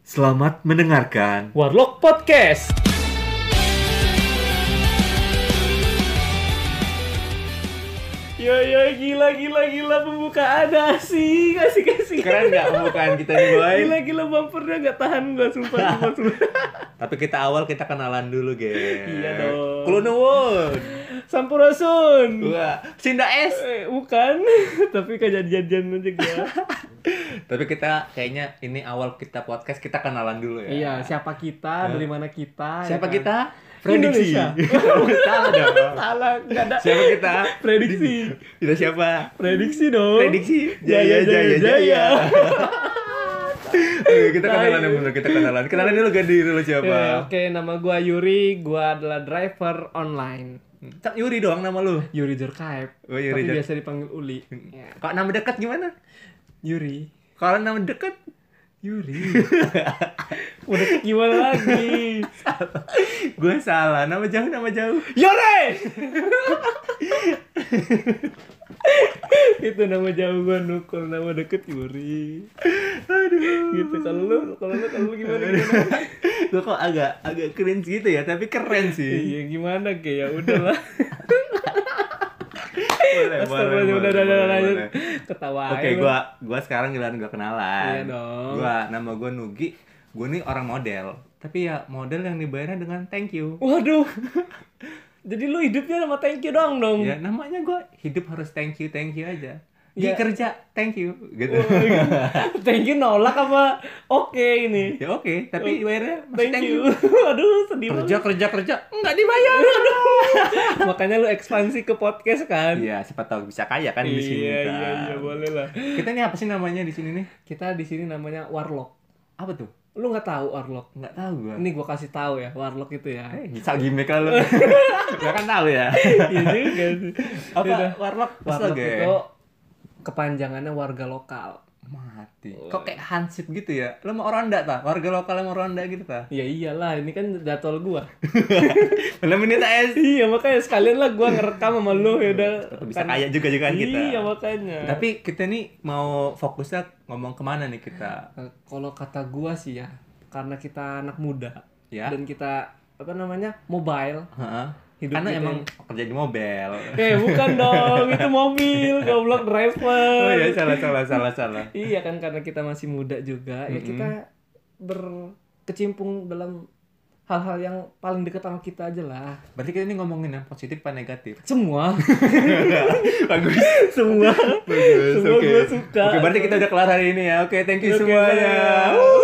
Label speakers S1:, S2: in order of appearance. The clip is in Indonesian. S1: Selamat mendengarkan.
S2: Warlock Podcast. Yo yo gila gila gila pembukaan asik asik asik.
S1: Keren nggak pembukaan kita nih, Boy?
S2: Gila gila bumpernya nggak tahan gua sumpah sumpah. sumpah.
S1: Tapi kita awal kita kenalan dulu, geng.
S2: Iya dong.
S1: Kulunewon.
S2: Sampurasun.
S1: Wah, Sinda S.
S2: Eh, bukan, tapi kejadian-jadian aja gua.
S1: Tapi kita kayaknya ini awal kita podcast kita kenalan dulu ya.
S2: iya, siapa kita, dari mana kita? ya
S1: Siapa
S2: kan?
S1: kita? Prediksi.
S2: Indonesia.
S1: Salah dong.
S2: Salah, nggak ada.
S1: Siapa kita?
S2: Prediksi.
S1: Kita siapa?
S2: Prediksi dong.
S1: Prediksi. Jaya jaya jaya. Oke, kita kenalan yang bener, kita kenalan. Kenalan dulu ganti dulu siapa?
S2: Ya, Oke, nama gua Yuri, gua adalah driver online.
S1: Cak Yuri doang nama lu.
S2: Yuri Jurkaep,
S1: Oh, Yuri Hmm.
S2: tapi
S1: Jur-
S2: biasa dipanggil Uli. Ya.
S1: Kalau nama dekat gimana?
S2: Yuri,
S1: Kalau nama dekat
S2: Yuri. Udah gimana lagi?
S1: gue salah. Nama jauh nama jauh.
S2: Yore! Itu nama jauh gua nukul, nama deket Yuri. Aduh. Gitu kalau lu, kalau lu, kalau lu gimana? gimana?
S1: gue kok agak agak cringe gitu ya, tapi keren sih.
S2: Iya gimana ke ya udahlah.
S1: boleh,
S2: Astagfirullah, udah, udah, udah, lanjut.
S1: boleh.
S2: Ketawa.
S1: Oke,
S2: aja lu.
S1: gua gua sekarang giliran gua kenalan.
S2: Iya dong.
S1: Gua nama gua Nugi. Gua nih orang model. Tapi ya model yang dibayarnya dengan thank you.
S2: Waduh. Jadi lu hidupnya sama thank you doang dong.
S1: Ya namanya gua hidup harus thank you, thank you aja. Di
S2: Ya. Oh, iya.
S1: kerja thank you gitu.
S2: thank you nolak apa oke ini.
S1: ya oke, tapi bayarnya masih
S2: Oh, Thank, you. Aduh, sedih banget.
S1: Kerja kerja kerja nggak dibayar.
S2: Makanya lu ekspansi ke podcast kan?
S1: Iya, siapa tahu bisa kaya kan di sini.
S2: iya,
S1: kan.
S2: iya, iya, boleh lah.
S1: Kita nih apa sih namanya di sini nih?
S2: Kita di sini namanya warlock.
S1: Apa tuh?
S2: Lu nggak tahu warlock?
S1: Nggak tahu gua.
S2: Ini gua kasih tahu ya, warlock itu ya.
S1: Eh, bisa gimmick lah lu. Gak kan tahu ya.
S2: Iya juga sih. Yaudah.
S1: warlock? gitu.
S2: Warlock itu kepanjangannya warga lokal.
S1: mati. Kok kayak hansip gitu ya? Lu mau Ronda ta? Warga lokal yang mau Ronda gitu ta?
S2: Ya iyalah, ini kan jadwal gua.
S1: Belum menit es.
S2: iya, makanya sekalian lah gua ngerekam sama lu ya udah.
S1: Bisa kaya juga juga kan kita.
S2: Iya, makanya.
S1: Tapi kita nih mau fokusnya ngomong kemana nih kita?
S2: Eh, kalau kata gua sih ya karena kita anak muda
S1: Ya.
S2: dan kita apa namanya mobile
S1: Heeh.
S2: Hidup
S1: Karena
S2: kita
S1: emang kerja di mobil.
S2: eh bukan dong itu mobil goblok
S1: Oh
S2: driver
S1: iya salah salah salah salah.
S2: iya kan karena kita masih muda juga ya kita berkecimpung dalam hal-hal yang paling dekat sama kita aja lah
S1: Berarti kita nih ngomongin yang positif apa negatif?
S2: semua
S1: Bagus.
S2: semua
S1: Bagus.
S2: Semua
S1: oke.
S2: gua suka.
S1: Oke, berarti kita udah kelar hari ini ya. Oke, thank you
S2: Oke,
S1: semuanya.
S2: bye.
S1: Wuh.